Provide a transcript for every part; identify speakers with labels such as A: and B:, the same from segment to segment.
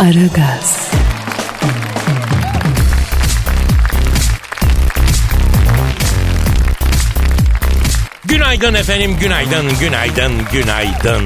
A: Aragaz,
B: Günaydın efendim, günaydın, günaydın, günaydın.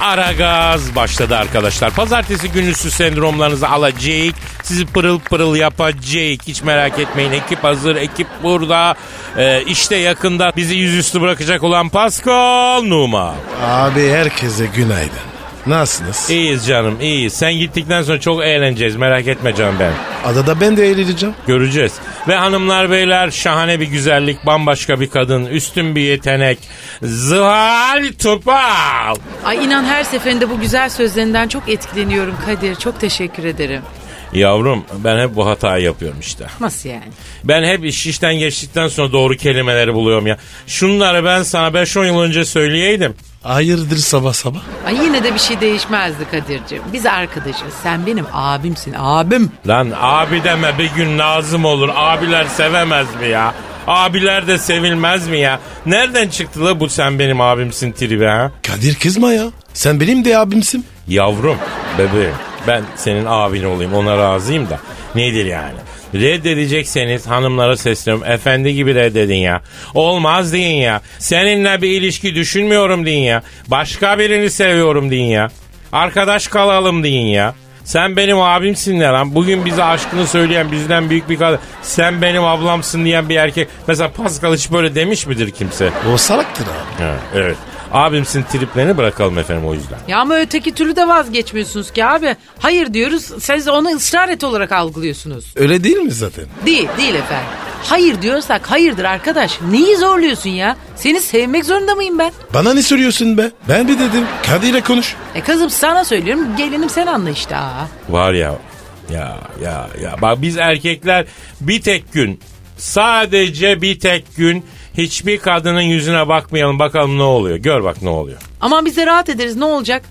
B: Ara gaz başladı arkadaşlar. Pazartesi günü su sendromlarınızı alacak. Sizi pırıl pırıl yapacak. Hiç merak etmeyin. Ekip hazır, ekip burada. Ee, işte yakında bizi yüzüstü bırakacak olan Pascal Numa.
C: Abi herkese günaydın. Nasılsınız?
B: İyiyiz canım, iyiyiz. Sen gittikten sonra çok eğleneceğiz. Merak etme canım benim.
C: Adada ben de eğleneceğim.
B: Göreceğiz. Ve hanımlar beyler şahane bir güzellik, bambaşka bir kadın, üstün bir yetenek. Zihal Topal.
D: Ay inan her seferinde bu güzel sözlerinden çok etkileniyorum Kadir. Çok teşekkür ederim.
B: Yavrum ben hep bu hatayı yapıyorum işte.
D: Nasıl yani?
B: Ben hep iş işten geçtikten sonra doğru kelimeleri buluyorum ya. Şunları ben sana 5-10 yıl önce söyleyeydim.
C: Hayırdır sabah sabah?
D: Ay yine de bir şey değişmezdi Kadir'ciğim. Biz arkadaşız. Sen benim abimsin. Abim.
B: Lan abi deme bir gün lazım olur. Abiler sevemez mi ya? Abiler de sevilmez mi ya? Nereden çıktı la bu sen benim abimsin tribi ha?
C: Kadir kızma ya. Sen benim de abimsin.
B: Yavrum, bebeğim ben senin abin olayım ona razıyım da. Nedir yani? Reddedecekseniz hanımlara sesleniyorum. Efendi gibi reddedin ya. Olmaz deyin ya. Seninle bir ilişki düşünmüyorum deyin ya. Başka birini seviyorum deyin ya. Arkadaş kalalım deyin ya. Sen benim abimsin ne lan? Bugün bize aşkını söyleyen bizden büyük bir kadın. Sen benim ablamsın diyen bir erkek. Mesela Pascal hiç böyle demiş midir kimse?
C: O salaktır abi.
B: Ha, evet. Abimsin triplerini bırakalım efendim o yüzden.
D: Ya ama öteki türlü de vazgeçmiyorsunuz ki abi. Hayır diyoruz. Siz onu ısrar et olarak algılıyorsunuz.
C: Öyle değil mi zaten?
D: Değil, değil efendim. Hayır diyorsak hayırdır arkadaş. Neyi zorluyorsun ya? Seni sevmek zorunda mıyım ben?
C: Bana ne soruyorsun be? Ben bir dedim. Kadir'e konuş.
D: E kızım sana söylüyorum. Gelinim sen anla işte. Aa.
B: Var ya ya ya ya bak biz erkekler bir tek gün sadece bir tek gün hiçbir kadının yüzüne bakmayalım bakalım ne oluyor. Gör bak ne oluyor.
D: Aman biz de rahat ederiz ne olacak?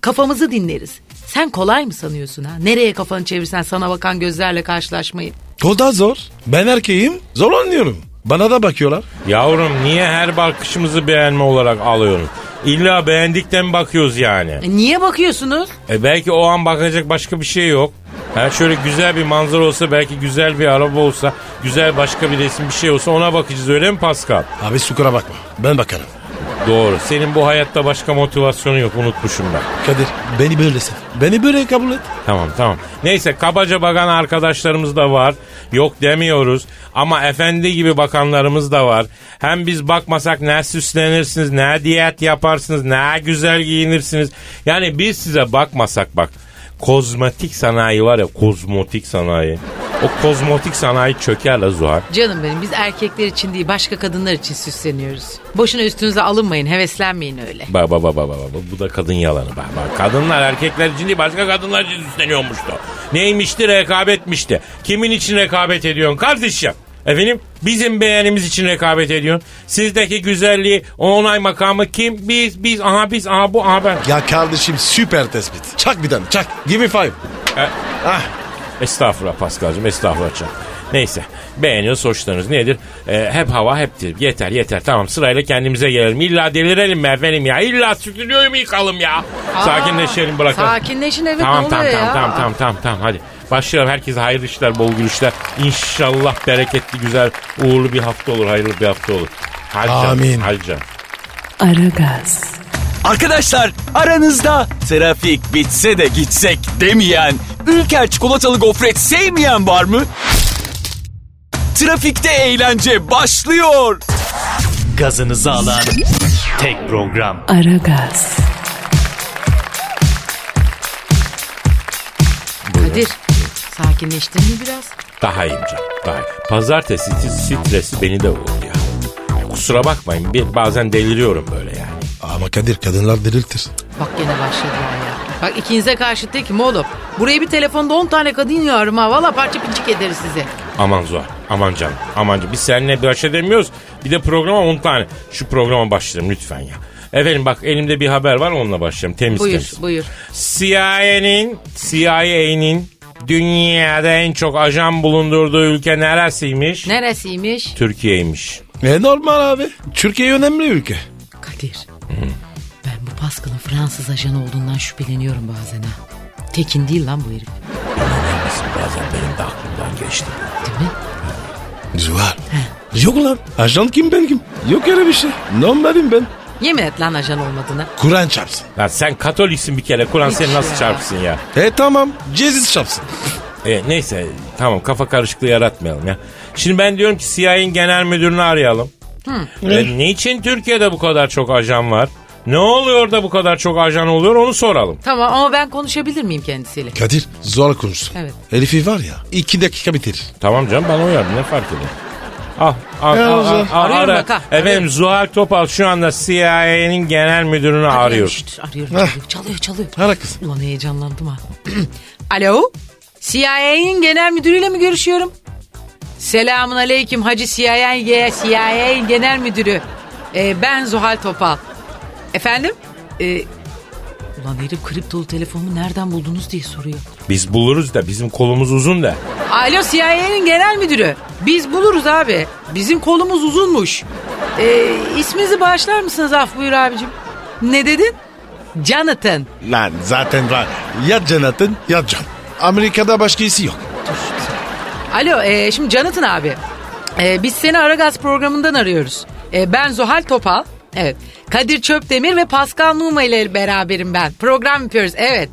D: Kafamızı dinleriz. Sen kolay mı sanıyorsun ha? Nereye kafanı çevirsen sana bakan gözlerle karşılaşmayı.
C: O da zor. Ben erkeğim. Zor anlıyorum. Bana da bakıyorlar.
B: Yavrum niye her bakışımızı beğenme olarak alıyorsun? İlla beğendikten bakıyoruz yani.
D: E niye bakıyorsunuz?
B: E belki o an bakacak başka bir şey yok. Ha şöyle güzel bir manzara olsa belki güzel bir araba olsa güzel başka bir resim bir şey olsa ona bakacağız öyle mi Pascal?
C: Abi sukura bakma. Ben bakarım.
B: Doğru. Senin bu hayatta başka motivasyonu yok unutmuşum ben.
C: Kadir beni böyle sev. Beni böyle kabul et.
B: Tamam tamam. Neyse kabaca bakan arkadaşlarımız da var. Yok demiyoruz. Ama efendi gibi bakanlarımız da var. Hem biz bakmasak ne süslenirsiniz, ne diyet yaparsınız, ne güzel giyinirsiniz. Yani biz size bakmasak bak. Kozmetik sanayi var ya kozmotik sanayi. O kozmotik sanayi çöker la Zuhal.
D: Canım benim biz erkekler için değil başka kadınlar için süsleniyoruz. Boşuna üstünüze alınmayın heveslenmeyin öyle.
B: Bak bak bak bak bak, bak. bu da kadın yalanı bak bak. Kadınlar erkekler için değil başka kadınlar için üstleniyormuştu. Neymişti rekabetmişti. Kimin için rekabet ediyorsun kardeşim? Efendim bizim beğenimiz için rekabet ediyorsun. Sizdeki güzelliği onay makamı kim? Biz biz aha biz aha bu aha ben.
C: Ya kardeşim süper tespit. Çak bir tane çak. Give me five.
B: E,
C: Ah.
B: estağfurullah Paskal'cığım estağfurullah canım. Neyse beğeniyoruz hoşlanıyoruz nedir? E, hep hava hep trip yeter yeter tamam sırayla kendimize gelelim. İlla delirelim mi efendim ya? İlla stüdyoyu mu yıkalım ya? Sakinleşelim bırakalım.
D: Sakinleşin evet
B: Tamam
D: ne
B: tamam
D: oluyor
B: tamam
D: ya?
B: tamam tamam tamam tamam hadi. Başlayalım herkese hayırlı işler, bol gülüşler. İnşallah bereketli, güzel, uğurlu bir hafta olur, hayırlı bir hafta olur. Hadi canım,
C: Amin.
B: hadi canım.
A: Aragaz,
E: Arkadaşlar aranızda trafik bitse de gitsek demeyen, Ülker çikolatalı gofret sevmeyen var mı? Trafikte eğlence başlıyor. Gazınızı alan tek program.
A: Aragaz,
D: Kadir sakinleştin mi biraz?
B: Daha iyiyim canım, daha iyi. Pazartesi sti- stresi beni de vurdu ya. Kusura bakmayın, bir, bazen deliriyorum böyle yani.
C: Abi Ama Kadir kadınlar diriltir.
D: Bak gene başladılar ya. Bak ikinize karşı tekim oğlum. Buraya bir telefonda 10 tane kadın yiyorum ha. Valla parça pinçik ederiz size.
B: Aman Zuhal. Aman canım. Aman canım. Biz seninle baş edemiyoruz. Bir de programa 10 tane. Şu programa başlayalım lütfen ya. Efendim bak elimde bir haber var onunla başlayalım. Temiz
D: Buyur
B: temiz.
D: buyur.
B: CIA'nin CIA'nin dünyada en çok ajan bulundurduğu ülke neresiymiş?
D: Neresiymiş?
B: Türkiye'ymiş.
C: E normal abi. Türkiye önemli ülke.
D: Kadir. Ben bu paskının Fransız ajanı olduğundan şüpheleniyorum bazen ha. Tekin değil lan bu herif.
B: Bazen benim de aklımdan geçti.
D: Değil mi?
C: Zuhal. Yok lan. Ajan kim ben kim? Yok öyle bir şey. Normalim ben.
D: Yemin et lan ajan olmadığını.
C: Kur'an çarpsın.
B: Lan sen katoliksin bir kere. Kur'an
D: Hiç
B: seni nasıl
D: ya.
B: çarpsın ya?
C: E tamam. Ceziz çarpsın.
B: E, neyse tamam kafa karışıklığı yaratmayalım ya. Şimdi ben diyorum ki CIA'nin genel müdürünü arayalım. E, niçin Türkiye'de bu kadar çok ajan var? Ne oluyor da bu kadar çok ajan oluyor onu soralım.
D: Tamam ama ben konuşabilir miyim kendisiyle?
C: Kadir zor konuşsun.
D: Evet.
C: Herifi var ya iki dakika bitirir.
B: Tamam canım bana uyar ne fark eder. Ah, ah,
C: Ya,
B: ah,
C: Zuhal.
B: ah, ah,
D: Arıyorum
B: ara.
D: bak, ha,
B: Efendim
D: arıyorum.
B: Zuhal Topal şu anda CIA'nin genel müdürünü arıyor.
D: Şşt, arıyorum çalıyor çalıyor. çalıyor.
C: Ara kız.
D: Ulan heyecanlandım ha. Alo? CIA'nin genel müdürüyle mi görüşüyorum? Selamun aleyküm Hacı CIA, CIA genel müdürü. Ee, ben Zuhal Topal. Efendim? Ee, ulan herif kriptolu telefonumu nereden buldunuz diye soruyor.
B: Biz buluruz da bizim kolumuz uzun da.
D: Alo CIA'nin genel müdürü. Biz buluruz abi. Bizim kolumuz uzunmuş. Ee, isminizi bağışlar mısınız af buyur abicim. Ne dedin? Jonathan.
C: Lan zaten var. Ya Jonathan ya John. Amerika'da başka iyisi yok.
D: Alo, e, şimdi Canatın abi. E, biz seni Aragaz programından arıyoruz. E, ben Zuhal Topal. Evet. Kadir Çöpdemir ve Pascal Numa ile beraberim ben. Program yapıyoruz. Evet.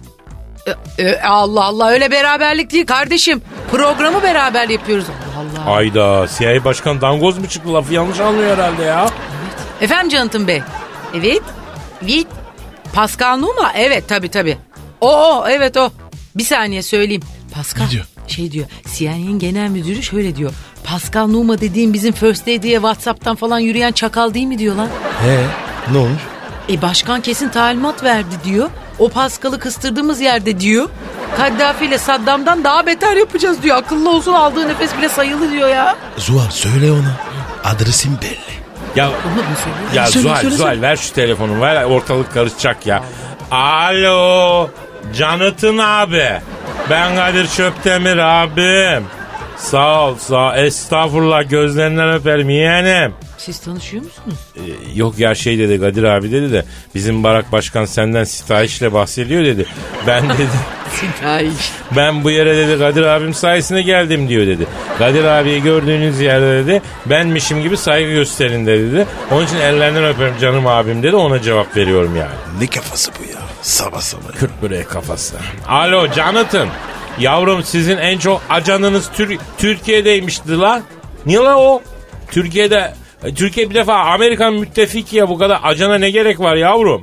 D: E, e, Allah Allah öyle beraberlik değil kardeşim. Programı beraber yapıyoruz. Allah Allah.
B: Ayda CIA başkan dangoz mu çıktı lafı yanlış anlıyor herhalde ya.
D: Efendim Canatın Bey. Evet. Evet. Pascal Numa. Evet tabii tabii. O o evet o. Bir saniye söyleyeyim. Pascal
C: Ne diyor?
D: şey diyor. CIA'nin genel müdürü şöyle diyor. Pascal Numa dediğim bizim First Lady diye Whatsapp'tan falan yürüyen çakal değil mi diyor lan.
C: He ne olmuş?
D: E başkan kesin talimat verdi diyor. O Pascal'ı kıstırdığımız yerde diyor. Kaddafi ile Saddam'dan daha beter yapacağız diyor. Akıllı olsun aldığı nefes bile sayılı diyor ya.
C: Zuhal söyle ona. Adresim belli.
B: Ya
D: Onu mu söylüyor?
B: Ya
C: Söyle,
B: Zuhal,
C: söyle,
B: Zuhal ver şu telefonu ver ortalık karışacak ya. Alo Canıtın abi. Ben Kadir Çöptemir abim. Sağ ol sağ Estağfurullah gözlerinden öperim yeğenim.
D: Siz tanışıyor musunuz?
B: Ee, yok ya şey dedi Kadir abi dedi de bizim Barak Başkan senden sitayişle bahsediyor dedi. Ben dedi
D: Ay.
B: ben bu yere dedi Kadir abim sayesinde geldim diyor dedi. Kadir abiyi gördüğünüz yerde dedi benmişim gibi saygı gösterin de dedi. Onun için ellerinden öperim canım abim dedi ona cevap veriyorum yani.
C: Ne kafası bu ya? Sabah sabah.
B: Kürt böreği kafası. Alo Canatın. Yavrum sizin en çok acanınız Tür- Türkiye'deymişti la. Niye la o? Türkiye'de e, Türkiye bir defa Amerikan müttefiki ya bu kadar acana ne gerek var yavrum?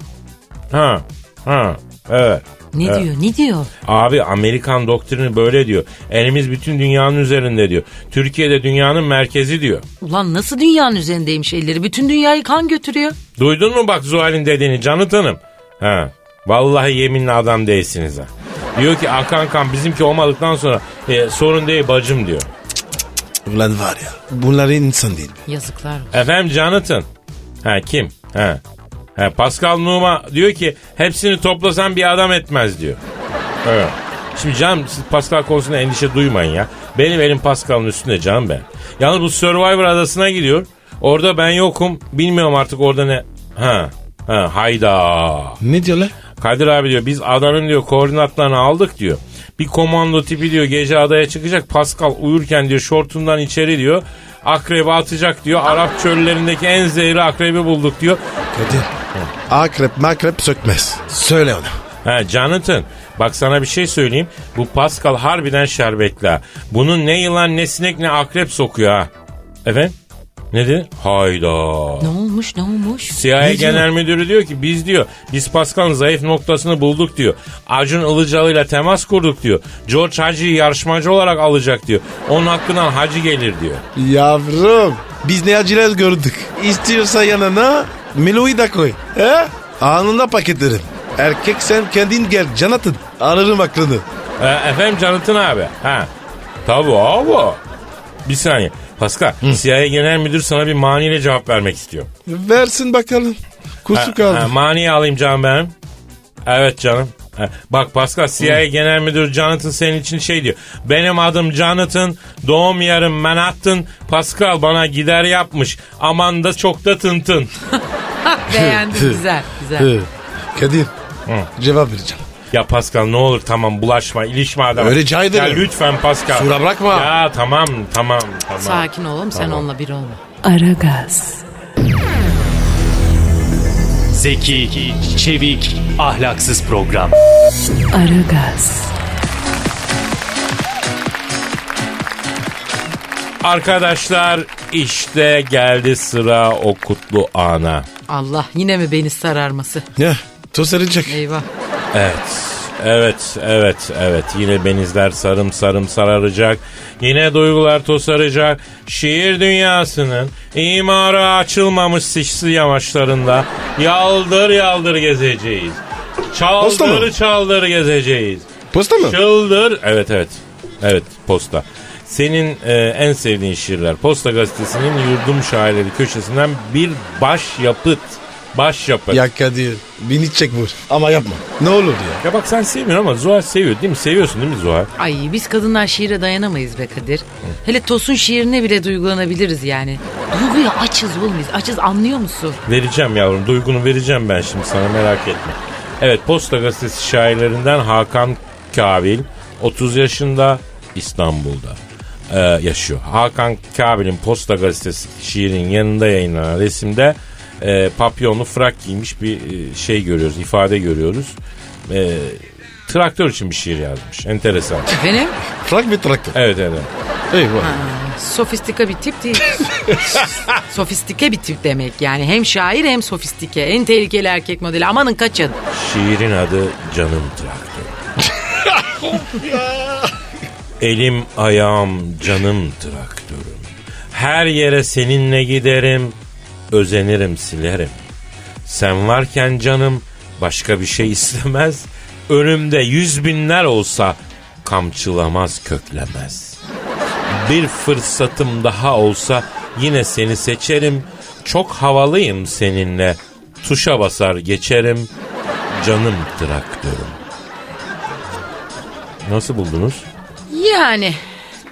B: Ha. Ha. Evet.
D: Ne
B: Evet.
D: diyor ne diyor?
B: Abi Amerikan doktrini böyle diyor. Elimiz bütün dünyanın üzerinde diyor. Türkiye'de dünyanın merkezi diyor.
D: Ulan nasıl dünyanın üzerindeymiş elleri? Bütün dünyayı kan götürüyor.
B: Duydun mu bak Zuhal'in dediğini Canıtın'ım? Ha. Vallahi yeminli adam değilsiniz ha. Diyor ki akan kan bizimki olmadıktan sonra e, sorun değil bacım diyor.
C: Ulan var ya. Bunlar insan değil.
D: Yazıklar. olsun.
B: Efendim Canıtın. Ha kim? Ha. ha. Pascal Numa diyor ki hepsini toplasan bir adam etmez diyor. Evet. Şimdi canım siz Pascal konusunda endişe duymayın ya. Benim elim Pascal'ın üstünde canım ben. Yalnız bu Survivor adasına gidiyor. Orada ben yokum. Bilmiyorum artık orada ne... Ha. Ha, hayda.
C: Ne diyorlar?
B: Kadir abi diyor biz adanın diyor koordinatlarını aldık diyor. Bir komando tipi diyor gece adaya çıkacak. Pascal uyurken diyor şortundan içeri diyor. Akrebi atacak diyor. Arap çöllerindeki en zehirli akrebi bulduk diyor.
C: Kadir. Akrep makrep sökmez. Söyle ona.
B: Ha Jonathan bak sana bir şey söyleyeyim. Bu Pascal harbiden şerbetli ha. Bunun ne yılan ne sinek ne akrep sokuyor ha. Efendim? Ne dedi? Hayda.
D: Ne olmuş ne olmuş?
B: CIA
C: Ne diyor?
B: Genel Müdürü diyor ki biz diyor biz Pascal'ın zayıf noktasını bulduk diyor. Acun Ilıcalı ile temas kurduk diyor. George Hacı'yı yarışmacı olarak alacak diyor. Onun hakkından Hacı gelir diyor.
C: Yavrum. Biz ne aciler gördük. İstiyorsa yanına Melo'yu da koy. He? Anında paketlerim. Erkek sen kendin gel Canatın. Alırım aklını.
B: E, efendim Canıtın abi. Ha. Tabii abi. Bir saniye. Pascal, CIA Genel Müdür sana bir maniyle cevap vermek istiyor.
C: Versin bakalım. Kusu kaldı.
B: Ha, maniyi alayım canım benim. Evet canım. Ha, Bak Pascal CIA Genel Müdürü Jonathan senin için şey diyor. Benim adım Jonathan, doğum yerim Manhattan. Pascal bana gider yapmış. Aman da çok da tıntın.
D: Beğendim güzel güzel.
C: Hı. Kadir cevap vereceğim.
B: Ya Pascal ne olur tamam bulaşma, ilişme adama.
C: Öyle rica
B: Ya
C: ederim.
B: lütfen Pascal.
C: Sura bırakma.
B: Ya tamam tamam tamam.
D: Sakin oğlum sen onunla bir olma.
A: Aragaz,
E: Zeki, çevik, ahlaksız program.
A: Aragaz,
B: Arkadaşlar işte geldi sıra o kutlu ana.
D: Allah yine mi beni sararması?
C: Ya toz sarılacak.
D: Eyvah.
B: Evet. Evet, evet, evet. Yine benizler sarım sarım sararacak. Yine duygular tosaracak. Şiir dünyasının imara açılmamış sisli yamaçlarında yaldır yaldır gezeceğiz.
C: Posta
B: Çaldır
C: mı?
B: çaldır gezeceğiz.
C: Posta mı?
B: Çıldır. Evet evet. Evet posta. Senin e, en sevdiğin şiirler. Posta gazetesinin yurdum şairleri köşesinden bir başyapıt. Başyapıt.
C: Ya Kadir beni çek vur. Ama yapma. Ne olur ya.
B: Ya bak sen sevmiyorsun ama Zuhal seviyor değil mi? Seviyorsun değil mi Zuhal?
D: Ay biz kadınlar şiire dayanamayız be Kadir. Hele Tosun şiirine bile duygulanabiliriz yani. Duyguya açız oğlum biz açız anlıyor musun?
B: Vereceğim yavrum duygunu vereceğim ben şimdi sana merak etme. Evet Posta Gazetesi şairlerinden Hakan Kabil 30 yaşında İstanbul'da e, yaşıyor. Hakan Kabil'in Posta Gazetesi şiirinin yanında yayınlanan resimde e, papyonlu frak giymiş bir e, şey görüyoruz ifade görüyoruz. E, traktör için bir şiir yazmış enteresan.
D: Benim
C: Trak bir traktör.
B: Evet evet.
C: Eyvah.
D: sofistika bir tip değil. sofistike bir tip demek yani. Hem şair hem sofistike. En tehlikeli erkek modeli. Amanın kaçın.
B: Şiirin adı Canım Traktör. Elim ayağım canım traktörüm. Her yere seninle giderim, özenirim silerim. Sen varken canım başka bir şey istemez. Önümde yüz binler olsa kamçılamaz köklemez. Bir fırsatım daha olsa yine seni seçerim. Çok havalıyım seninle. Tuşa basar geçerim. Canım traktörüm. Nasıl buldunuz?
D: Yani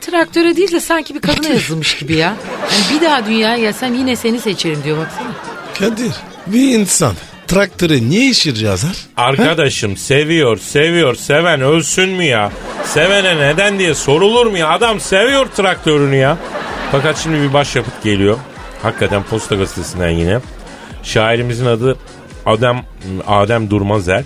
D: traktöre değil de sanki bir kadına yazılmış gibi ya. Yani bir daha dünyaya gelsem yine seni seçerim diyor baksana.
C: Kadir bir insan traktörü niye işir yazar?
B: Arkadaşım seviyor, seviyor, seven ölsün mü ya? Sevene neden diye sorulur mu ya? Adam seviyor traktörünü ya. Fakat şimdi bir başyapıt geliyor. Hakikaten Posta Gazetesi'nden yine. Şairimizin adı Adem, Adem Durmazer.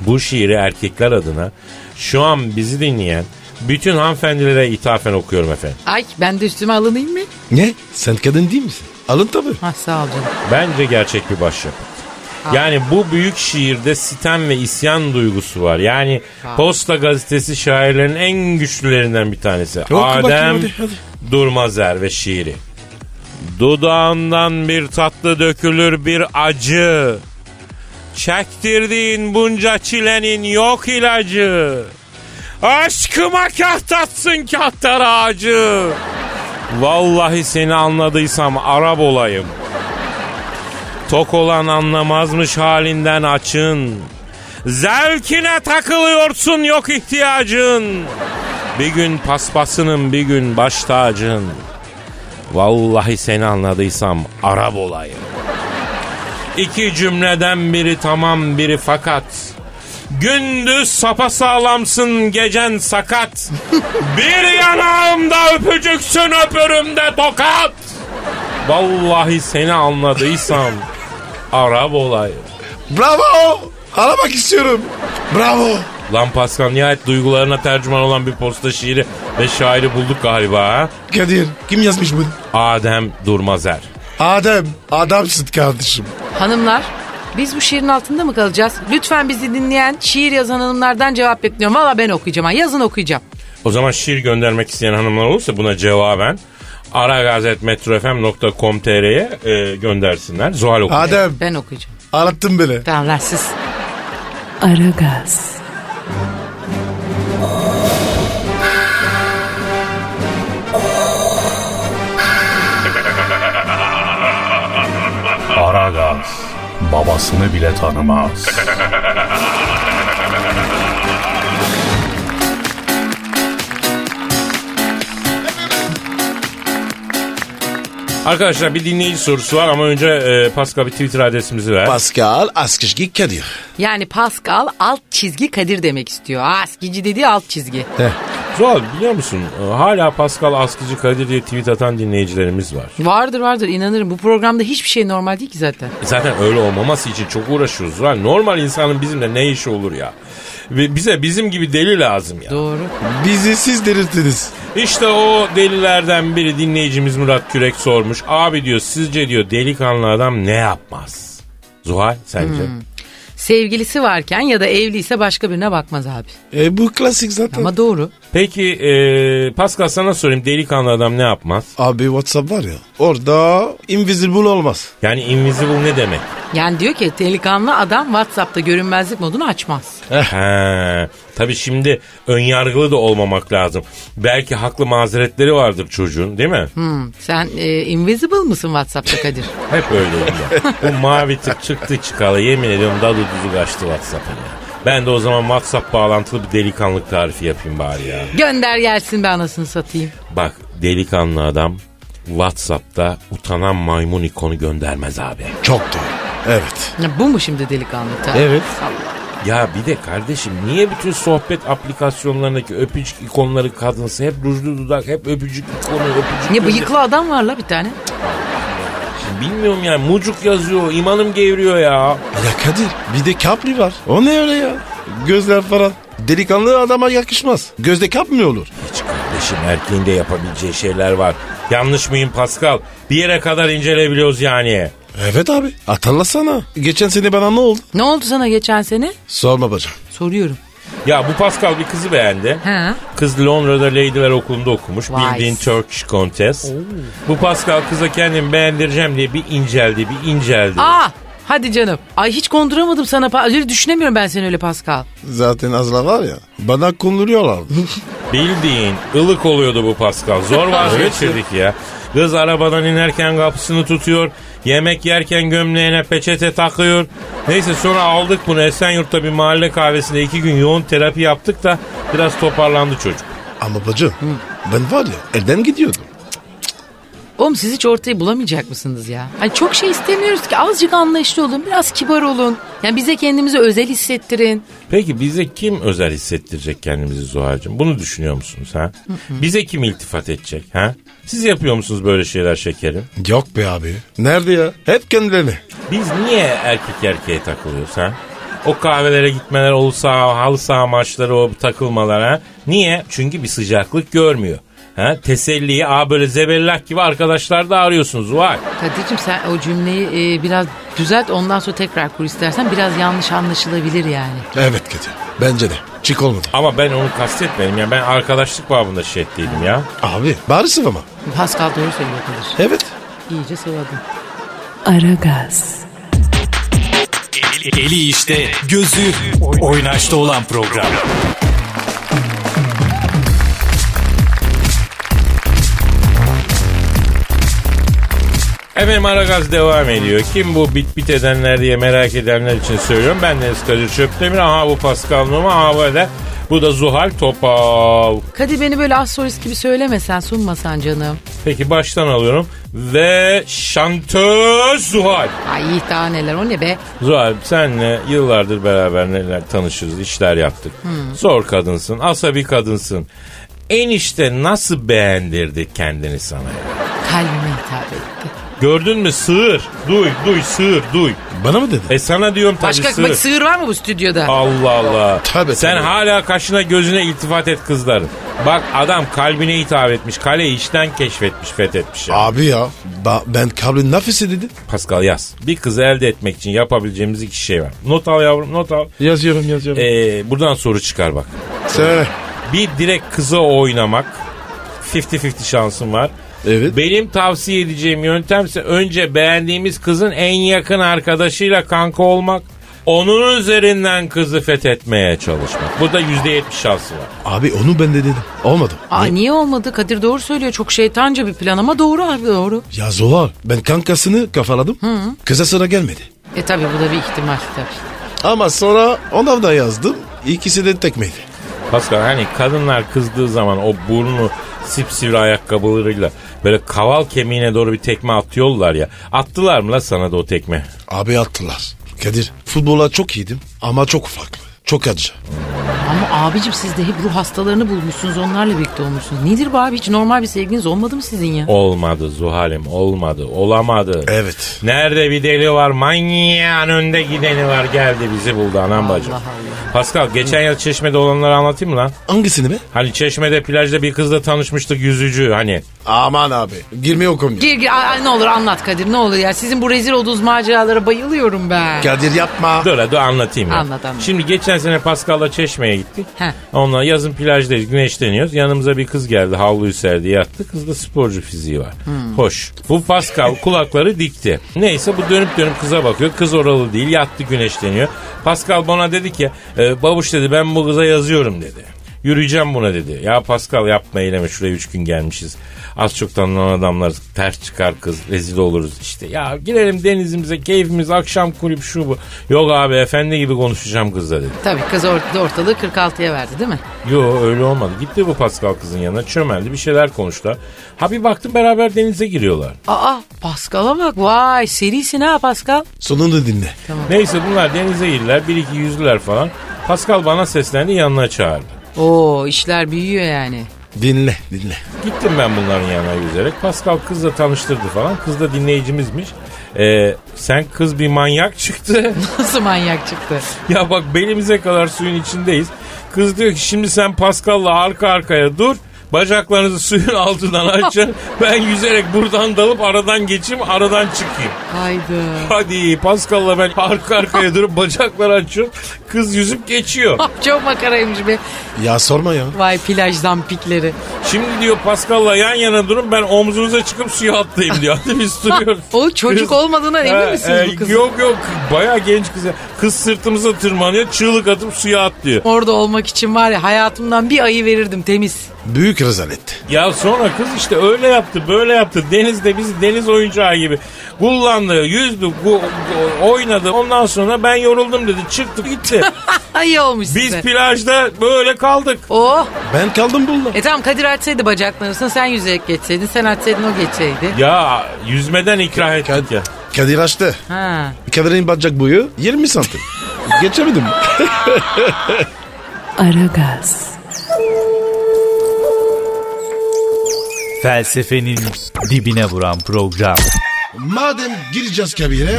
B: Bu şiiri erkekler adına şu an bizi dinleyen bütün hanımefendilere ithafen okuyorum efendim.
D: Ay ben de üstüme alınayım mı?
C: Ne? Sen kadın değil misin? Alın tabii.
D: Ha sağ ol canım.
B: Bence gerçek bir başyapıt. Yani bu büyük şiirde sitem ve isyan duygusu var. Yani Posta gazetesi şairlerin en güçlülerinden bir tanesi.
C: bakayım,
B: Adem
C: hadi, hadi.
B: Durmazer ve şiiri. Dudağından bir tatlı dökülür bir acı. Çektirdiğin bunca çilenin yok ilacı. Aşkıma kahtatsın kahtar ağacı. Vallahi seni anladıysam Arap olayım. Tok olan anlamazmış halinden açın. Zevkine takılıyorsun yok ihtiyacın. Bir gün paspasının bir gün baş tacın. Vallahi seni anladıysam Arap olayım. İki cümleden biri tamam biri fakat. Gündüz sapasağlamsın gecen sakat. bir yanağımda öpücüksün öpürümde tokat. Vallahi seni anladıysam Arap olayım.
C: Bravo! Aramak istiyorum. Bravo.
B: Lan Pascal nihayet duygularına tercüman olan bir posta şiiri ve şairi bulduk galiba ha?
C: Kadir kim yazmış bunu?
B: Adem Durmazer.
C: Adem. Adamsın kardeşim.
D: Hanımlar biz bu şiirin altında mı kalacağız? Lütfen bizi dinleyen şiir yazan hanımlardan cevap bekliyorum. Valla ben okuyacağım. ha, Yazın okuyacağım.
B: O zaman şiir göndermek isteyen hanımlar olursa buna cevaben aragazetmetrofm.com.tr'ye e, göndersinler. Zuhal okuyor.
C: Adem.
D: Ben okuyacağım.
C: Arattın beni.
D: Tamam lan siz.
A: Aragaz,
F: Aragaz babasını bile tanımaz.
B: Arkadaşlar bir dinleyici sorusu var ama önce e, Pascal bir Twitter adresimizi ver.
C: Pascal Askışgi Kadir.
D: Yani Pascal alt çizgi Kadir demek istiyor. Askici dediği alt çizgi.
B: Zuhal biliyor musun e, hala Pascal Askıcı Kadir diye tweet atan dinleyicilerimiz var.
D: Vardır vardır inanırım. Bu programda hiçbir şey normal değil ki zaten.
B: E Zaten öyle olmaması için çok uğraşıyoruz. Lan normal insanın bizimle ne işi olur ya? Ve bize bizim gibi deli lazım ya.
D: Doğru.
C: Bizi siz delirttiniz.
B: İşte o delilerden biri dinleyicimiz Murat Kürek sormuş. Abi diyor sizce diyor delikanlı adam ne yapmaz? Zuhal sence?
D: Sevgilisi varken ya da evliyse başka birine bakmaz abi.
C: E bu klasik zaten.
D: Ama doğru.
B: Peki e, Pascal sana sorayım delikanlı adam ne yapmaz?
C: Abi WhatsApp var ya. Orada invisible olmaz.
B: Yani invisible ne demek?
D: Yani diyor ki delikanlı adam WhatsApp'ta görünmezlik modunu açmaz.
B: He, tabii şimdi önyargılı da olmamak lazım. Belki haklı mazeretleri vardır çocuğun değil mi?
D: Hmm, sen e, invisible mısın WhatsApp'ta Kadir?
B: Hep öyleyim ben. Bu mavi tık çıktı çıkalı yemin ediyorum dadı duzu kaçtı WhatsApp'a ya. Ben de o zaman WhatsApp bağlantılı bir delikanlık tarifi yapayım bari ya.
D: Gönder gelsin be anasını satayım.
B: Bak delikanlı adam WhatsApp'ta utanan maymun ikonu göndermez abi.
C: Çok doğru. Evet.
D: Ya bu mu şimdi delikanlı? tabii?
C: Evet.
B: Ya bir de kardeşim niye bütün sohbet aplikasyonlarındaki öpücük ikonları kadınsı hep rujlu dudak hep öpücük ikonu öpücük.
D: Ne
B: gönder-
D: bıyıklı adam var la bir tane.
B: Bilmiyorum ya mucuk yazıyor imanım gevriyor ya.
C: Ya Kadir bir de kapri var. O ne öyle ya? Gözler falan. Delikanlı adama yakışmaz. Gözde kap mı olur?
B: Hiç kardeşim erkeğin de yapabileceği şeyler var. Yanlış mıyım Pascal? Bir yere kadar incelebiliyoruz yani.
C: Evet abi. Hatırlasana. Geçen sene bana ne oldu?
D: Ne oldu sana geçen sene?
C: Sorma bacım.
D: Soruyorum.
B: Ya bu Pascal bir kızı beğendi.
D: Ha?
B: Kız Londra'da Leydiler Okulu'nda okumuş.
D: Vay.
B: Bildiğin Turkish Contest. Bu Pascal kıza kendimi beğendireceğim diye bir inceldi, bir inceldi.
D: Aa! Hadi canım. Ay hiç konduramadım sana. Pa- Öyle düşünemiyorum ben seni öyle Pascal.
C: Zaten azla var ya. Bana konduruyorlardı.
B: Bildiğin ılık oluyordu bu Pascal. Zor vazgeçirdik ya. Kız arabadan inerken kapısını tutuyor. Yemek yerken gömleğine peçete takıyor. Neyse sonra aldık bunu Esenyurt'ta bir mahalle kahvesinde iki gün yoğun terapi yaptık da biraz toparlandı çocuk.
C: Ama bacım ben var ya elden gidiyordum.
D: Oğlum siz hiç ortayı bulamayacak mısınız ya? Hani çok şey istemiyoruz ki. Azıcık anlayışlı olun. Biraz kibar olun. Yani bize kendimizi özel hissettirin.
B: Peki bize kim özel hissettirecek kendimizi Zuhal'cığım? Bunu düşünüyor musunuz ha? Bize kim iltifat edecek ha? Siz yapıyor musunuz böyle şeyler şekerim?
C: Yok be abi. Nerede ya? Hep kendilerini.
B: Biz niye erkek erkeğe takılıyoruz ha? O kahvelere gitmeler, o saha, halı saha maçları, o takılmalar ha? Niye? Çünkü bir sıcaklık görmüyor. Ha? Teselliyi a böyle zebellak gibi arkadaşlar da arıyorsunuz var.
D: Kadir'cim sen o cümleyi e, biraz düzelt. Ondan sonra tekrar kur istersen. Biraz yanlış anlaşılabilir yani.
C: Evet Kadir. Bence de. Çık olmadı.
B: Ama ben onu kastetmedim ya. Ben arkadaşlık babında şey ettiydim ya.
C: Abi bağırsın ama.
D: Pascal doğru söylüyor Kadir.
C: Evet.
D: İyice sıvadım.
A: Aragaz,
E: Eli işte, gözü oynaşta olan program.
B: Efendim Aragaz devam ediyor. Kim bu bit bit edenler diye merak edenler için söylüyorum. Ben Deniz Kadir Çöptemir. Aha bu Pascal Numa. Aha bu Eder. Bu da Zuhal Topal.
D: Kadir beni böyle astrolist gibi söylemesen sunmasan canım.
B: Peki baştan alıyorum. Ve şantöz Zuhal.
D: Ay iyi daha neler o ne be.
B: Zuhal senle yıllardır beraber neler tanışırız, işler yaptık. Zor kadınsın, asabi kadınsın. Enişte nasıl beğendirdi kendini sana ya?
D: Kalbime hitap etti.
B: Gördün mü sığır. Duy, duy, sığır, duy.
C: Bana mı dedin?
B: E sana diyorum tabii
D: Başka
B: sığır.
D: bak, sığır var mı bu stüdyoda?
B: Allah Allah.
C: Tabii,
B: Sen
C: tabii.
B: hala kaşına gözüne iltifat et kızların. Bak adam kalbine hitap etmiş. Kaleyi içten keşfetmiş, fethetmiş. ya.
C: Abi ya. ba- ben kabrin nafisi dedi.
B: Pascal yaz. Bir kızı elde etmek için yapabileceğimiz iki şey var. Not al yavrum, not al.
C: Yazıyorum yazıyorum.
B: Ee, buradan soru çıkar bak.
C: E- Söyle.
B: Bir direkt kıza oynamak. 50-50 şansın var.
C: Evet.
B: Benim tavsiye edeceğim yöntemse önce beğendiğimiz kızın en yakın arkadaşıyla kanka olmak. Onun üzerinden kızı fethetmeye çalışmak. Burada %70 şansı var.
C: Abi onu ben de dedim. Olmadı.
D: Aa, niye olmadı? Kadir doğru söylüyor. Çok şeytanca bir plan ama doğru abi doğru.
C: Ya Zola ben kankasını kafaladım. Kıza sıra gelmedi.
D: E tabi bu da bir ihtimal tabii.
C: Ama sonra ona da yazdım. İkisi de tekmeydi.
B: Pascal hani kadınlar kızdığı zaman o burnu sipsivri ayakkabılarıyla böyle kaval kemiğine doğru bir tekme atıyorlar ya. Attılar mı la sana da o tekme?
C: Abi attılar. Kadir futbola çok iyiydim ama çok ufaklı. Çok acı.
D: Ama abicim siz de hep ruh hastalarını bulmuşsunuz onlarla birlikte olmuşsunuz. Nedir bu abi hiç normal bir sevginiz olmadı mı sizin ya?
B: Olmadı Zuhal'im olmadı olamadı.
C: Evet.
B: Nerede bir deli var manyağın önde gideni var geldi bizi buldu anam bacım.
D: Allah
B: Pascal geçen yıl çeşmede olanları anlatayım mı lan?
C: Hangisini be?
B: Hani çeşmede plajda bir kızla tanışmıştık yüzücü hani.
C: Aman abi. Girme o konuya.
D: Gir gir Ay, ay, ne olur anlat Kadir ne olur ya. Sizin bu rezil olduğunuz maceralara bayılıyorum ben.
C: Kadir yapma.
B: Dur hadi anlatayım ya.
D: Anlat, anlat.
B: Şimdi geçen sene Pascal'la Çeşme'ye gittik.
D: Heh.
B: Onunla yazın plajdayız güneşleniyoruz. Yanımıza bir kız geldi havluyu serdi yattı. Kızda sporcu fiziği var. Hoş. Bu Pascal kulakları dikti. Neyse bu dönüp dönüp kıza bakıyor. Kız oralı değil yattı güneşleniyor. Pascal bana dedi ki "E, babuş dedi ben bu kıza yazıyorum dedi. Yürüyeceğim buna dedi. Ya Pascal yapma eyleme şuraya üç gün gelmişiz. Az çok tanınan adamlar ters çıkar kız rezil oluruz işte. Ya girelim denizimize keyfimiz akşam kulüp şu bu. Yok abi efendi gibi konuşacağım kızla dedi.
D: Tabii kız or- ortalığı 46'ya verdi değil mi?
B: Yo öyle olmadı. Gitti bu Pascal kızın yanına çömeldi bir şeyler konuştular. Ha bir baktım beraber denize giriyorlar.
D: Aa Pascal'a bak vay serisin ha Pascal.
C: Sonunu dinle.
B: Neyse bunlar denize girdiler bir iki yüzdüler falan. Pascal bana seslendi yanına çağırdı.
D: Oo işler büyüyor yani.
C: Dinle dinle.
B: Gittim ben bunların yanına yüzerek. Pascal kızla tanıştırdı falan. Kız da dinleyicimizmiş. Ee, sen kız bir manyak çıktı.
D: Nasıl manyak çıktı?
B: ya bak belimize kadar suyun içindeyiz. Kız diyor ki şimdi sen Pascal'la arka arkaya dur. Bacaklarınızı suyun altından açın. ben yüzerek buradan dalıp aradan geçeyim, aradan çıkayım.
D: Haydi.
B: Hadi Pascal'la ben arka arkaya durup bacakları açıyorum. Kız yüzüp geçiyor.
D: Çok makaraymış be.
C: Ya sorma ya.
D: Vay plaj zampikleri.
B: Şimdi diyor Pascal'la yan yana durun ben omzunuza çıkıp suya atlayayım diyor. Hadi biz duruyoruz.
D: O çocuk olmadığına emin
B: Ha, e,
D: misiniz bu kızın?
B: Yok yok bayağı genç kız. ya. Kız sırtımıza tırmanıyor çığlık atıp suya atlıyor.
D: Orada olmak için var ya hayatımdan bir ayı verirdim temiz.
C: Büyük rezalet.
B: Ya sonra kız işte öyle yaptı böyle yaptı. Denizde bizi deniz oyuncağı gibi kullandı yüzdü bu, bu- oynadı. Ondan sonra ben yoruldum dedi çıktı gitti.
D: Ayı olmuş
B: Biz
D: size.
B: plajda böyle kaldık.
D: oh.
C: Ben kaldım bununla.
D: E tamam Kadir açsaydı bacaklarını sen yüzerek geçseydin. Sen açsaydın o geçseydi.
B: Ya yüzmeden ikrah ettik ya.
C: Kadir açtı.
D: Ha.
C: Kadir'in bacak boyu 20 santim. Geçemedim.
A: Aragaz,
E: Felsefenin dibine vuran program.
C: Madem gireceğiz kabire.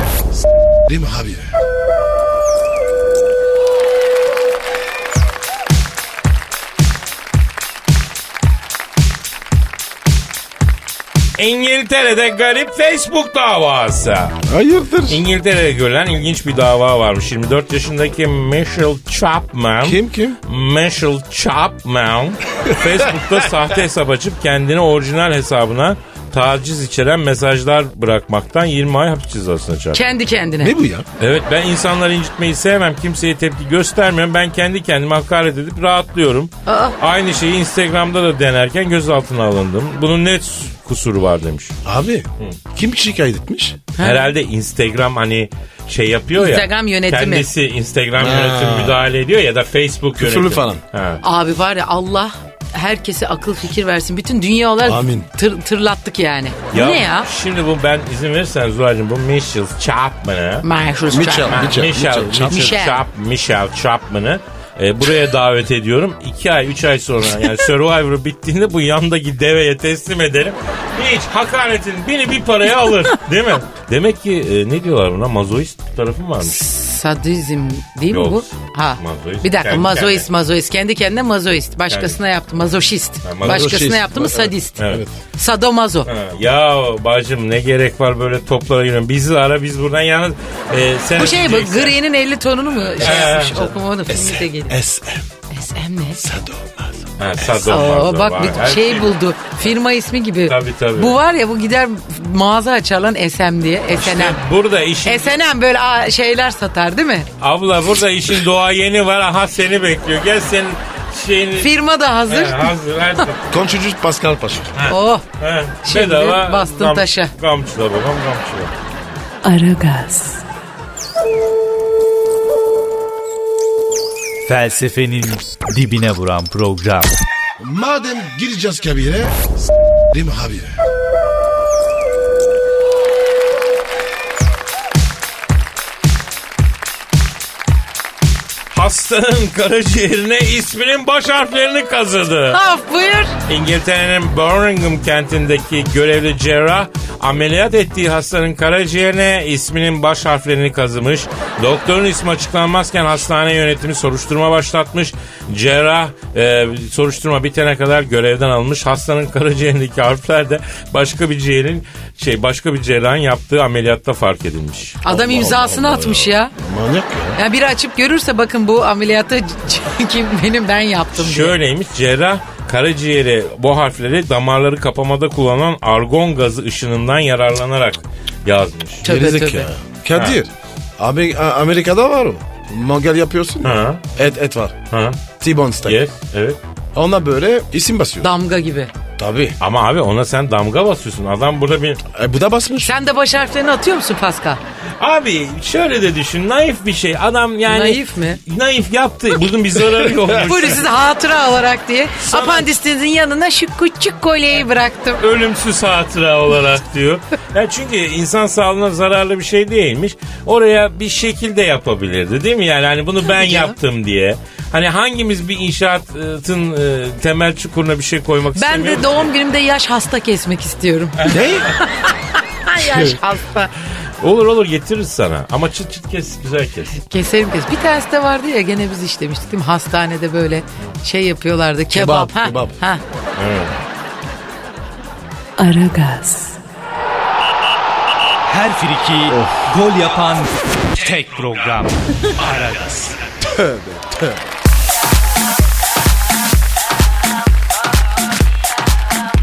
C: Değil mi abi?
B: İngiltere'de garip Facebook davası.
C: Hayırdır?
B: İngiltere'de görülen ilginç bir dava varmış. 24 yaşındaki Michelle Chapman.
C: Kim kim?
B: Michelle Chapman Facebook'ta sahte hesap açıp kendini orijinal hesabına taciz içeren mesajlar bırakmaktan 20 ay hapis cezasına çarptı.
D: Kendi kendine.
C: Ne bu ya?
B: Evet ben insanları incitmeyi sevmem. Kimseye tepki göstermiyorum. Ben kendi kendime hakaret edip rahatlıyorum.
D: Aa.
B: Aynı şeyi Instagram'da da denerken gözaltına alındım. Bunun net kusuru var demiş.
C: Abi kim şikayet etmiş?
B: Herhalde Instagram hani şey yapıyor ya.
D: Instagram yönetimi.
B: Kendisi Instagram
C: Ha.
B: yönetimi müdahale ediyor ya da Facebook
C: Küfürlü
B: yönetimi.
C: falan.
B: Ha.
D: Abi var ya Allah herkese akıl fikir versin. Bütün dünyalar
C: Amin.
D: tır- tırlattık yani. Bu ne ya?
B: Şimdi bu ben izin verirsen Zuhal'cığım bu Michelle Chapman'ı
D: Mahşus
C: Mitchell.
D: Çakmak.
B: Michelle, Michelle, Michelle,
D: Michelle.
B: Chap- Michelle Chapman'ı e, buraya davet ediyorum. 2 ay 3 ay sonra yani Survivor bittiğinde bu yandaki deveye teslim ederim. Hiç hakaretin biri bir paraya alır. Değil mi? Demek ki e, ne diyorlar buna? Mazoist tarafı varmış.
D: Sadizm değil mi
B: Yok.
D: bu? Ha.
B: Mazoist.
D: Bir dakika
B: Kendi
D: mazoist
B: kendine.
D: mazoist. Kendi kendine mazoist. Başkasına yaptı mazoşist.
B: mazoşist.
D: Başkasına yaptı mı sadist.
B: Evet.
D: Sadomazo.
B: Ha, Ya bacım ne gerek var böyle toplara yürüyorum. Bizi ara biz buradan yalnız e, sen
D: Bu şey bu
B: ödeyeceksin.
D: Green'in 50 tonunu mu şey
B: Ha.
D: yapmış? Okuma onu filmi de geliyor.
C: SM.
D: olmaz hem ne?
B: Ha, sado
D: Aa,
B: mazo
D: bak
B: var.
D: bir
B: Her
D: şey buldu. Firma ismi gibi.
B: Tabii, tabii.
D: Bu var ya bu gider mağaza açar lan SM diye.
B: İşte
D: SNM.
B: burada işin
D: SNM böyle aa, şeyler satar değil mi?
B: abla burada işin doğayeni var aha seni bekliyor. Gel senin şeyini
D: Firma da hazır.
B: He, hazır her
C: Komşucu Pascal Paşa.
D: Oh.
B: He,
D: Şimdi
B: bedava
D: bastın
B: gam-
D: taşa.
B: Gamçıla babam gamçıla.
A: Aragaz,
G: Felsefenin dibine vuran program.
C: Madem gireceğiz kabire. Rim abi.
B: Hastanın karaciğerine isminin baş harflerini kazıdı.
D: Af buyur.
B: İngiltere'nin Birmingham kentindeki görevli cerrah ameliyat ettiği hastanın karaciğerine isminin baş harflerini kazımış. Doktorun ismi açıklanmazken hastane yönetimi soruşturma başlatmış. Cerrah e, soruşturma bitene kadar görevden almış. Hastanın karaciğerindeki harfler de başka bir ciğerin şey başka bir cerrahın yaptığı ameliyatta fark edilmiş.
D: Adam imzasını atmış ya.
C: Manyak ya.
D: Ya biri açıp görürse bakın bu ameliyatı kim benim ben yaptım diye.
B: Şöyleymiş cerrah karaciğeri bu harfleri damarları kapamada kullanılan argon gazı ışınından yararlanarak yazmış.
D: Tövbe
C: Gerizek
D: tövbe.
C: ya. Kadir. Abi, A- Amerika'da var o. Mangal yapıyorsun. ya.
B: Ha,
C: Et et var.
B: ha.
C: T-bone steak.
B: Yes, evet.
C: Ona böyle isim basıyor.
D: Damga gibi.
C: Tabii.
B: Ama abi ona sen damga basıyorsun. Adam burada bir...
C: E, bu da basmış.
D: Sen de baş harflerini atıyor musun Pascal?
B: Abi şöyle de düşün. Naif bir şey. Adam yani...
D: Naif mi?
B: Naif yaptı. Bunun bir zararı yok.
D: Buyurun size hatıra olarak diye apandistinizin yanına şu küçük kolyeyi bıraktım.
B: Ölümsüz hatıra olarak diyor. Ya çünkü insan sağlığına zararlı bir şey değilmiş. Oraya bir şekilde yapabilirdi değil mi? Yani hani bunu ben
D: canım.
B: yaptım diye. Hani hangimiz bir inşaatın e, temel çukuruna bir şey koymak
D: Ben
B: istemiyor?
D: de doğum günümde yaş hasta kesmek istiyorum. Şey.
C: ne?
D: yaş hasta.
B: Olur olur getiririz sana. Ama çıt çıt kes güzel kes.
D: Keserim kes. Bir tanesi de vardı ya gene biz işlemiştik değil mi? Hastanede böyle şey yapıyorlardı. Kebap.
C: Kebap,
D: ha,
C: kebap.
D: Ha.
A: Aragaz,
G: Her friki gol yapan tek program. Aragaz.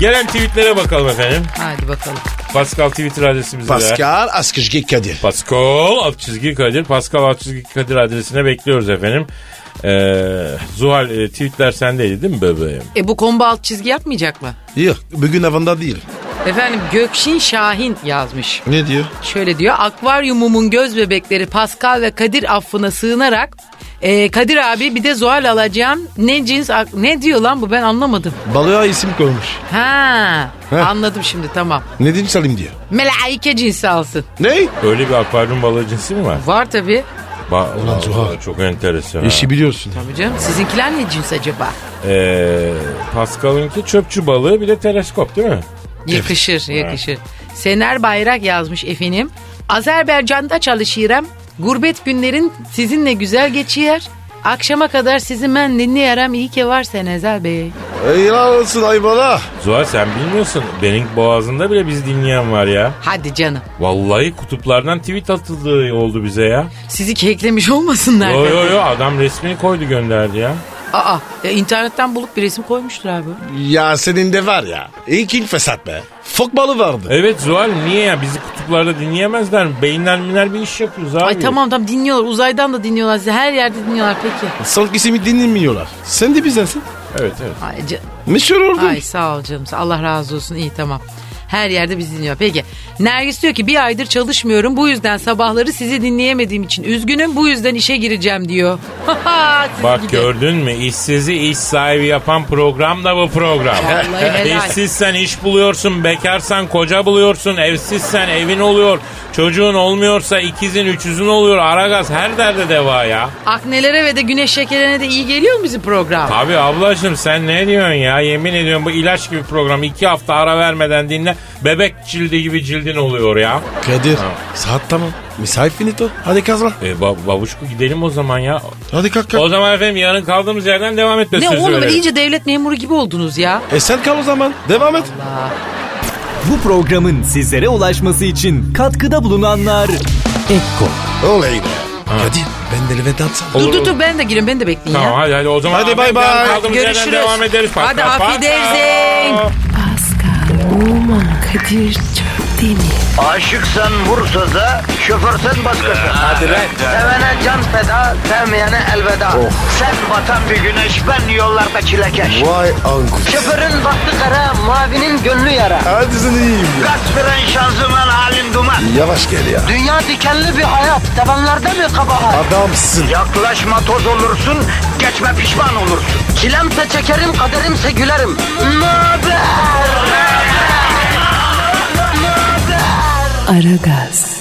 B: Gelen tweetlere bakalım efendim.
D: Hadi bakalım.
B: Pascal Twitter adresimizi de.
C: Pascal Askışgi Kadir.
B: Pascal alt çizgi Kadir. Pascal alt çizgi Kadir adresine bekliyoruz efendim. Ee, Zuhal e, tweetler sendeydi değil mi bebeğim?
D: E bu kombo alt çizgi yapmayacak mı?
C: Yok bugün avanda değil.
D: Efendim Gökşin Şahin yazmış.
C: Ne diyor?
D: Şöyle diyor. Akvaryumumun göz bebekleri Pascal ve Kadir affına sığınarak e, Kadir abi bir de Zuhal alacağım. Ne cins ak- ne diyor lan bu ben anlamadım.
C: Balığa isim koymuş.
D: Ha,
C: Heh.
D: anladım şimdi tamam.
C: Ne diyeyim Salim diyor.
D: Melaike cinsi alsın.
C: Ne?
B: Öyle bir akvaryum balığı cinsi mi var?
D: Var tabii.
B: Ba-
C: Ulan Zuhal.
B: Çok enteresan. ha.
C: İşi biliyorsun.
D: Tabii canım. Sizinkiler ne cins acaba?
B: Ee, Pascal'ınki çöpçü balığı bir de teleskop değil mi?
D: Yakışır, yakışır. Sener Bayrak yazmış efendim. Azerbaycan'da çalışıyorum. Gurbet günlerin sizinle güzel geçiyor. Akşama kadar sizi ben dinliyorum. İyi ki varsın Ezel Bey.
C: E, Helal olsun Aybala.
B: Zuhal sen bilmiyorsun. Benim boğazında bile biz dinleyen var ya.
D: Hadi canım.
B: Vallahi kutuplardan tweet atıldığı oldu bize ya.
D: Sizi keklemiş olmasınlar.
B: Yo yo yo adam resmini koydu gönderdi ya.
D: Aa, ya internetten bulup bir resim koymuştur abi.
C: Ya senin de var ya. İlkin fesat be. Fok balı vardı.
B: Evet Zuhal niye ya bizi kutuplarda dinleyemezler mi? Beyinler miner bir iş yapıyoruz abi.
D: Ay tamam tamam dinliyorlar. Uzaydan da dinliyorlar sizi. Her yerde dinliyorlar peki.
C: Son ismi dinlemiyorlar. Sen de bizdensin.
B: Evet evet.
D: Ay, ca-
C: Meşhur oldun.
D: Ay sağ ol canım. Allah razı olsun. İyi tamam. Her yerde bizi dinliyor. Peki. Nergis diyor ki bir aydır çalışmıyorum. Bu yüzden sabahları sizi dinleyemediğim için üzgünüm. Bu yüzden işe gireceğim diyor. Sizi
B: Bak
D: gidi.
B: gördün mü işsizi iş sahibi yapan program da bu program.
D: Vallahi helal.
B: İşsizsen iş buluyorsun, bekarsan koca buluyorsun, evsizsen evin oluyor, çocuğun olmuyorsa ikizin üçüzün oluyor. Aragaz her derde deva ya.
D: Aknelere ve de güneş şekerine de iyi geliyor mu bizim program?
B: Abi ablacığım sen ne diyorsun ya? Yemin ediyorum bu ilaç gibi program. iki hafta ara vermeden dinle. Bebek cildi gibi cildin oluyor ya.
C: Kadir. Saat tamam. Misafir finito. Hadi kazma.
B: E, ba- babuşku gidelim o zaman ya.
C: Hadi kalk kalk.
B: O zaman efendim yarın kaldığımız yerden devam etme
D: ne
B: sözü
D: oğlum böyle
B: verelim.
D: iyice devlet memuru gibi oldunuz ya.
C: E sen kal o zaman. Devam et.
E: Bu programın sizlere ulaşması için katkıda bulunanlar
C: Oley be. Kadir ben Kendine veda etsene.
D: Dur dur dur ben de gireyim beni de bekleyin
B: Tamam
D: ya.
B: hadi hadi o zaman.
C: Hadi bay
B: Afiyet olsun.
C: bay.
B: Kaldığımız yerden
D: Görüşürüz.
B: Devam ederiz. Pat,
D: Hadi
B: pat, pat.
D: afiyetlerzin.
A: Pascal, Oman, Kadir çok değil mi?
H: Aşıksan vursa da şoförsen başkasın. Hadi
E: lan.
H: Sevene can feda, sevmeyene elveda.
C: Oh.
H: Sen batan bir güneş, ben yollarda çilekeş.
C: Vay anku.
H: Şoförün baktı kara, mavinin gönlü yara.
C: Hadi sen iyiyim ya.
H: Kasperen şanzıman halin duman.
C: Yavaş gel ya.
H: Dünya dikenli bir hayat, sevenlerde mi kabahar?
C: Adamsın.
H: Yaklaşma toz olursun, geçme pişman olursun. Çilemse çekerim, kaderimse gülerim. Möber!
A: Aragaz.